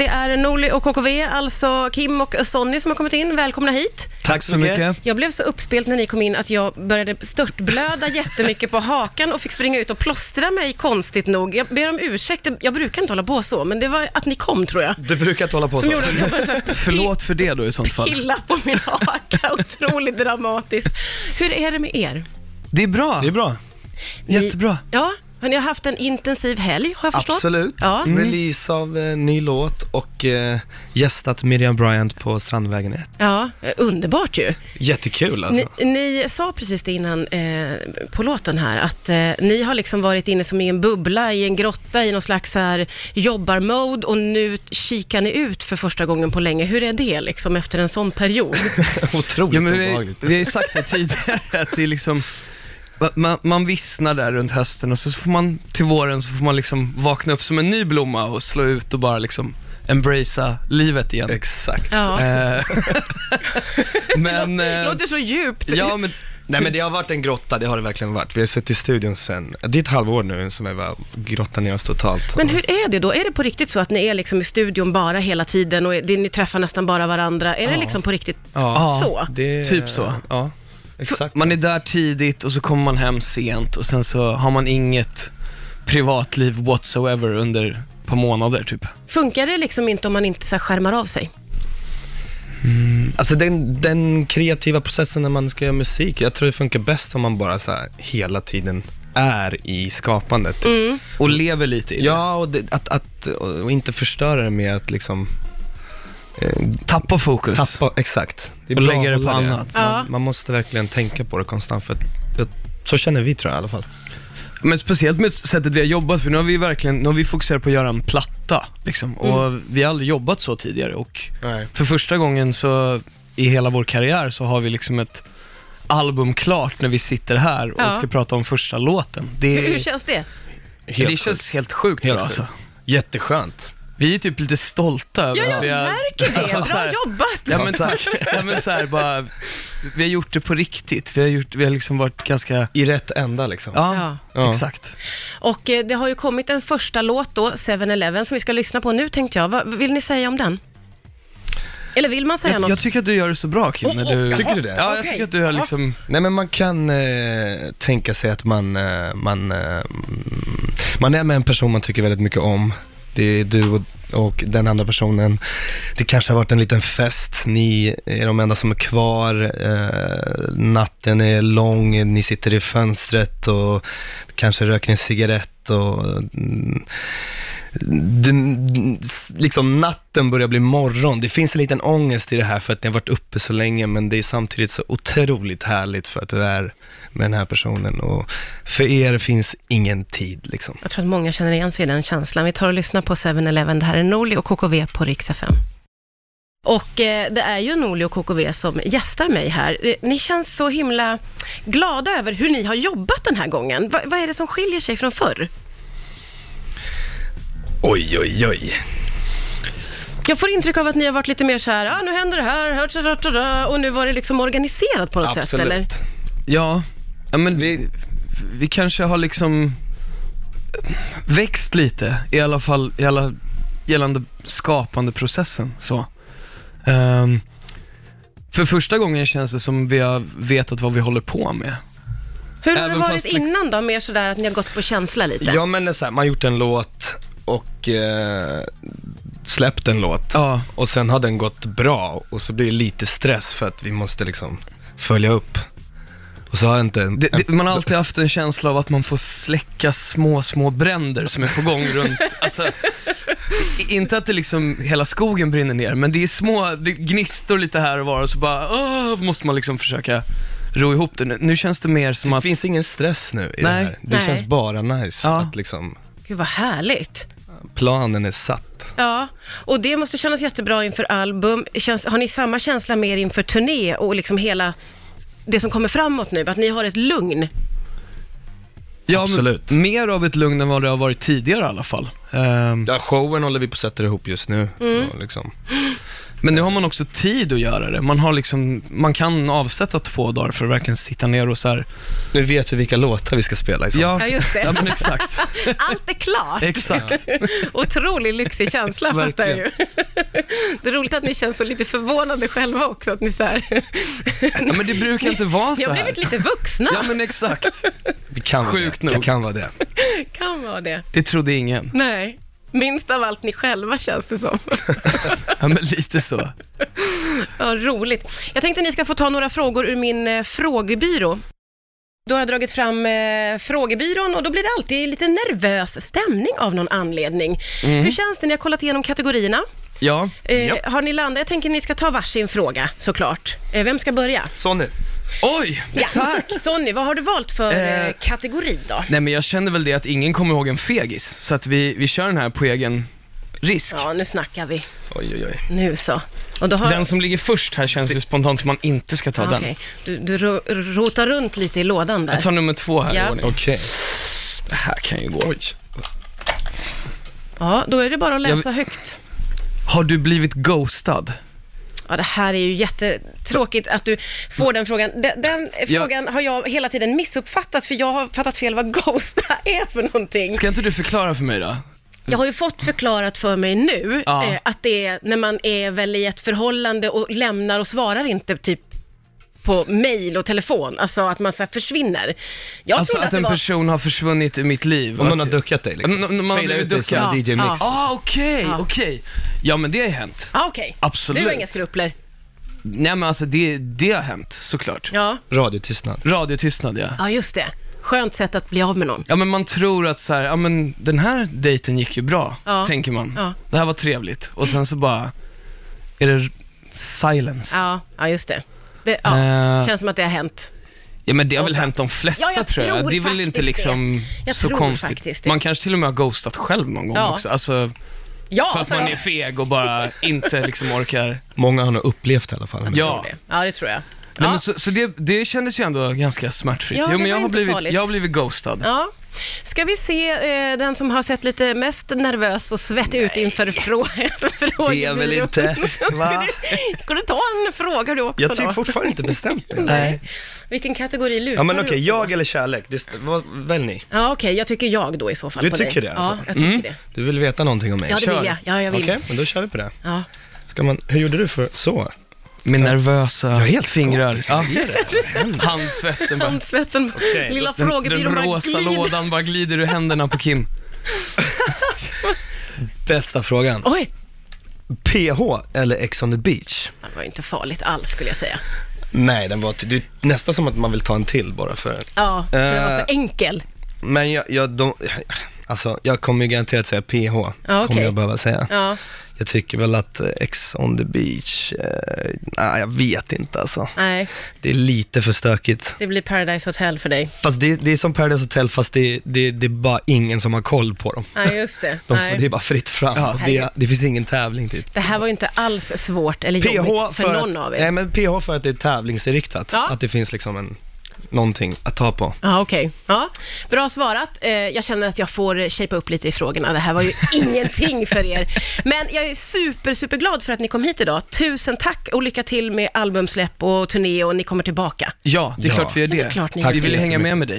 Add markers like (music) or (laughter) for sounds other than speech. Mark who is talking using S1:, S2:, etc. S1: Det är Norli och KKV, alltså Kim och Sonny som har kommit in. Välkomna hit.
S2: Tack så mycket.
S1: Jag blev så uppspelt när ni kom in att jag började störtblöda jättemycket på hakan och fick springa ut och plåstra mig konstigt nog. Jag ber om ursäkt, jag brukar inte hålla på så, men det var att ni kom tror jag.
S2: Du brukar inte hålla på
S1: Som
S2: så.
S1: gjorde att jag började så här
S2: (laughs) Förlåt för det då i sånt fall.
S1: pilla på min haka, (laughs) otroligt dramatiskt. Hur är det med er?
S3: Det är bra.
S2: Det är bra. Jättebra.
S1: Ni, ja, har ni haft en intensiv helg har jag förstått?
S2: Absolut.
S1: Ja.
S2: Release av eh, ny låt och eh, gästat Miriam Bryant på Strandvägen 1.
S1: ja, underbart ju.
S2: Jättekul alltså.
S1: Ni, ni sa precis det innan eh, på låten här, att eh, ni har liksom varit inne som i en bubbla, i en grotta, i någon slags så här jobbarmode och nu kikar ni ut för första gången på länge. Hur är det liksom efter en sån period?
S2: Otroligt
S3: Ja, men vi,
S2: obehagligt.
S3: vi har ju sagt det tidigare, att det är liksom, va- man, man vissnar där runt hösten och så får man till våren så får man liksom vakna upp som en ny blomma och slå ut och bara liksom embracea livet igen.
S2: Exakt.
S1: Ja.
S3: Eh, (laughs) men, eh,
S1: det låter så djupt.
S2: typ-
S3: ja men,
S2: Nej men det har varit en grotta, det har det verkligen varit. Vi har suttit i studion sen, det är ett halvår nu som vi har grottat ner oss totalt.
S1: Men hur är det då? Är det på riktigt så att ni är liksom i studion bara hela tiden och är- det, ni träffar nästan bara varandra? Är det liksom på riktigt
S2: Ja.
S1: så?
S2: Det,
S3: Typ så.
S2: Eh, Ja, exakt.
S3: man är där tidigt och så kommer man hem sent och sen så har man inget privatliv whatsoever under ett par månader typ.
S1: Funkar det liksom inte om man inte så här skärmar av sig?
S2: Alltså den, den kreativa processen när man ska göra musik, jag tror det funkar bäst om man bara så här, hela tiden är i skapandet. typ.
S1: Mm.
S3: Och lever lite i det.
S2: Ja, och, det, att, att, och inte förstöra det med att liksom eh,
S3: Tappa fokus.
S2: tappa, exakt. Det
S3: Och
S2: bra
S3: lägga
S2: att
S3: det på
S2: hålla
S3: annat.
S1: Ja.
S2: Man, man måste verkligen tänka på det konstant, för att, jag, så känner vi tror jag i alla fall.
S3: Men speciellt med sättet vi har jobbat, för nu har vi verkligen, nu har vi fokuserat på att göra en platta liksom.
S1: Mm.
S3: Och vi har aldrig jobbat så tidigare och
S2: Nej.
S3: för första gången så i hela vår karriär så har vi liksom ett album klart när vi sitter här och
S1: Ja.
S3: ska prata om första låten. Det,
S1: Hur, hur känns det?
S2: Helt
S3: det känns helt sjukt
S2: Helt
S3: bra
S2: sjukt.
S3: alltså.
S2: Jätteskönt.
S3: Vi är typ lite stolta över
S1: Ja, jag
S3: att vi har...
S1: märker
S3: (laughs)
S1: det.
S3: Alltså, så
S1: Bra
S3: här-
S1: jobbat!
S3: Ja men, ja, men så här, bara, vi har gjort det på riktigt. Vi har, gjort, vi har liksom varit ganska,
S2: I rätt ända liksom.
S3: ja,
S2: Ja.
S3: exakt.
S1: Och eh, det har ju kommit en första låt då, 7-Eleven, som vi ska lyssna på nu tänkte jag. Vad vill ni säga om den? Eller vill man säga
S3: Jag,
S1: något?
S3: jag tycker att du gör det så bra Kim, när du...
S2: Tycker du det?
S3: Ja, jag
S1: Okej.
S3: tycker att du har liksom...
S2: Nej men man kan eh, tänka sig att man, eh, man, eh, mm, man är med en person man tycker väldigt mycket om. Det är du och, och den andra personen. Det kanske har varit en liten fest, ni är de enda som är kvar, eh, natten är lång, ni sitter i fönstret och kanske röker en cigarett och mm, du, liksom natten börjar bli morgon. Det finns en liten ångest i det här för att ni har varit uppe så länge, men det är samtidigt så otroligt härligt för att du är med den här personen och för er finns ingen tid liksom.
S1: Jag tror att många känner igen sig i den känslan. Vi tar och lyssnar på 7-Eleven. Det här är Norli och KKV på Rix FM. Och eh, det är ju Norli och KKV som gästar mig här. Eh, Ni känns så himla glada över hur ni har jobbat den här gången. Va, vad är det som skiljer sig från förr?
S2: Oj, oj, oj.
S1: Jag får intryck av att ni har varit lite mer så här, ah, nu händer det här, hört, hört, hört, hört", och nu var det liksom organiserat på något sätt, eller?
S2: Absolut.
S3: Ja, ja men vi, vi kanske har liksom växt lite, i alla fall i alla, gällande skapandeprocessen. Så. Ehm, för första gången känns det som vi har vetat vad vi håller på med.
S1: Hur har det
S3: Även
S1: varit
S3: fast liksom-
S1: innan då? Mer sådär att ni har gått på känsla lite?
S2: Ja, men det är så här, man har gjort en låt och eh, släppt en låt.
S3: Ja,
S2: Och sen har den gått bra och så blir det lite stress för att vi måste liksom följa upp. Och så har inte en,
S3: det, det, man har alltid haft en känsla av att man får släcka små, små bränder som är på gång
S2: (laughs)
S3: runt, alltså, i- inte att det liksom, hela skogen brinner ner, men det är små, det gnistor lite här och var och så bara, åh, måste man liksom försöka ro ihop det. Nu, nu känns det mer som
S2: Det
S3: att,
S2: finns ingen stress nu
S3: Nej.
S2: i det här. Det
S1: Nej.
S2: känns bara nice
S3: Ja.
S2: att liksom,
S1: Gud vad härligt.
S2: planen är satt.
S1: Ja, och det måste kännas jättebra inför album. Känns, har ni samma känsla mer inför turné och liksom hela det som kommer framåt nu? Att ni har ett lugn?
S3: ja, men
S2: Absolut.
S3: mer av ett lugn än vad det har varit tidigare i alla fall. Ehm,
S1: Mm.
S2: Ja, showen håller vi på att sätta ihop just nu. Och liksom,
S3: Men nu har man också tid att göra det. Man, har liksom, man kan avsätta två dagar för att verkligen sitta ner och så här.
S2: Nu vet vi vilka låtar vi ska spela liksom. i sommar.
S1: Ja, just det.
S3: ja men
S1: (laughs)
S3: exakt.
S1: Allt är klart. (laughs)
S3: Exakt.
S1: Otroligt lyxig känsla fattar jag ju. (laughs) Det är roligt att ni känns så lite förvånade själva också, att ni så här...
S3: Ja, men det brukar inte vara
S1: Ni
S3: så
S1: har
S3: här.
S1: blivit lite vuxna,
S3: Ja men exakt.
S2: Vi kan
S3: Sjukt
S2: vara det.
S3: nog.
S2: Jag kan vara det.
S1: kan vara det.
S3: Det trodde ingen.
S1: Nej, minst av allt ni själva känns det som.
S3: Ja men lite så.
S1: Ja, roligt. Jag tänkte ni ska få ta några frågor ur min eh, frågebyrå. Då har jag dragit fram eh, frågebyrån och då blir det alltid lite nervös stämning av någon anledning. Hur känns det? Ni har kollat igenom kategorierna.
S3: Mm. Ja.
S1: Eh, Har ni landat? Jag tänker ni ska ta varsin fråga såklart. Eh, vem ska börja?
S2: Sonny,
S3: Oj, tack.
S1: (laughs) Sonny, vad har du valt för eh,
S3: Eh,
S1: kategori då?
S3: Nej men jag kände väl det att ingen kommer ihåg en fegis, så att vi, vi kör den här på egen risk.
S1: Ja, nu snackar vi.
S2: oj oj oj.
S1: Nu så. Och då har...
S3: Den som ligger först här känns ju spontant som man inte ska ta
S1: Ah,
S3: den.
S1: okej. Du, du ro- rotar runt lite i lådan där.
S3: Jag tar nummer två här
S1: Ja.
S3: i ordning.
S2: Okej.
S3: Det här kan ju gå.
S1: Ja, då är det bara att
S3: Jag-
S1: läsa högt.
S3: Har du blivit ghostad?
S1: Ja, det här är ju jättetråkigt att du får den frågan. Den, den
S3: Ja.
S1: frågan har jag hela tiden missuppfattat, för jag har fattat fel vad ghosta är för någonting.
S3: Ska inte du förklara för mig då?
S1: Jag har ju fått förklarat för mig nu
S3: Ja.
S1: eh, att det är när man är väl i ett förhållande och lämnar och svarar inte typ på mail och telefon, alltså att man så här försvinner. Jag
S3: Alltså
S1: trodde
S3: att en
S1: det var...
S3: person har försvunnit ur mitt liv.
S2: Om
S3: och
S2: någon har
S3: att-
S2: duckat dig liksom.
S3: Om någon- någon har
S2: Faila
S3: blivit
S2: ut dig som
S1: duckad.
S2: DJ Mix.
S1: Ja.
S3: Ah, okej,
S1: Ja.
S3: okej. Ja men det har hänt.
S1: Ja, okej.
S3: Absolut.
S1: Du har inga skrupler.
S3: Nej men alltså det, det har hänt, såklart.
S1: Ja.
S2: Radiotystnad.
S3: Radiotystnad ja.
S1: ja, just det. Skönt sätt att bli av med någon.
S3: Ja men man tror att så här, ja men den här dejten gick ju bra,
S1: Ja.
S3: tänker man.
S1: Ja.
S3: Det här var trevligt. Och sen så bara, är det silence.
S1: Ja, ja just det. det ja.
S3: Eh.
S1: Känns som att det har hänt.
S3: Ja, men det har väl
S1: Och så-
S3: hänt de flesta
S1: Ja, jag
S3: tror
S1: tror
S3: jag. Det är väl
S1: faktiskt
S3: inte liksom
S1: det. Jag
S3: så
S1: tror
S3: konstigt.
S1: faktiskt det.
S3: Man kanske till och med har ghostat själv någon gång
S1: Ja.
S3: också. Alltså,
S1: Ja,
S3: för att
S1: så-
S3: man är feg och bara inte liksom orkar.
S2: Många har nog upplevt i alla fall.
S3: Ja.
S1: tror det. ja, det tror jag.
S3: Nej,
S1: Ja.
S3: men så så det, det kändes ju ändå ganska smärtfritt.
S1: Ja, det
S3: jo, men
S1: var
S3: jag, har
S1: inte
S3: blivit,
S1: farligt.
S3: jag har blivit ghostad.
S1: Ja. Ska vi se eh, den som har sett lite mest nervös och svettig ut inför (laughs) frågan?
S2: Det är väl inte, va?
S1: (laughs) Ska du ta en fråga du också
S2: Jag tycker
S1: då?
S2: fortfarande inte bestämt mig.
S3: Nej.
S1: Vilken kategori lutar
S2: Ja men
S1: du
S2: okej,
S1: åt?
S2: jag eller kärlek? Det, st- vad, välj ni.
S1: Ja, okej, jag tycker jag då i så fall
S2: Du
S1: på
S2: tycker
S1: dig.
S2: det, alltså?
S1: Ja, jag tycker det.
S2: Du vill veta någonting om mig?
S1: Ja, det
S2: Kör.
S1: vill jag. Ja, jag vill.
S2: Okej, men då kör vi på det.
S1: Ja.
S2: Ska man, hur gjorde du för så?
S3: Min nervösa
S2: är helt
S3: fingrar.
S2: skakig.
S3: Ja. Handsvetten bara.
S1: Handsvetten, lilla frågebyrån
S3: Den
S1: bara
S3: rosa
S1: glider.
S3: lådan bara glider ur händerna på Kim.
S2: Bästa frågan.
S1: Oj,
S2: PH eller Ex on the beach?
S1: det var ju inte farligt alls skulle jag säga.
S2: Nej, den var till, det är nästan som att man vill ta en till bara för...
S1: Ja, för jag var
S2: Eh.
S1: för enkel.
S2: Men jag, jag, de, alltså, jag kommer ju garanterat säga PH,
S1: okej.
S2: kommer jag behöva säga.
S1: Ja,
S2: Jag tycker väl att eh, Ex on the beach, eh, nej jag vet inte alltså.
S1: nej,
S2: Det är lite för stökigt.
S1: det blir Paradise Hotel för dig.
S2: Fast det, det är som Paradise Hotel fast det, det, det är bara ingen som har koll på dem.
S1: Nej, just det.
S2: De,
S1: Nej.
S2: det är bara fritt fram.
S3: Ja.
S2: och det, det finns ingen tävling typ.
S1: Det här var ju inte alls svårt eller
S2: PH
S1: jobbigt för,
S2: för,
S1: någon
S2: att,
S1: av
S2: Nej,
S1: er.
S2: men PH för att det är tävlingsinriktat.
S1: Ja.
S2: Att det finns liksom en, någonting att ta på.
S1: Ja, okej. Ja, bra svarat. Eh, Jag känner att jag får shapea upp lite i frågorna. Det här
S2: (laughs)
S1: var ju ingenting för er. Men jag är super, superglad för att ni kom hit idag. Tusen tack och lycka till med albumsläpp och turné och ni kommer tillbaka.
S3: Ja, det är
S2: Ja.
S3: klart vi gör det.
S1: Det är klart ni
S2: Tack
S3: vi
S2: så
S3: vill ju hänga
S2: jättemycket.
S3: med med dig.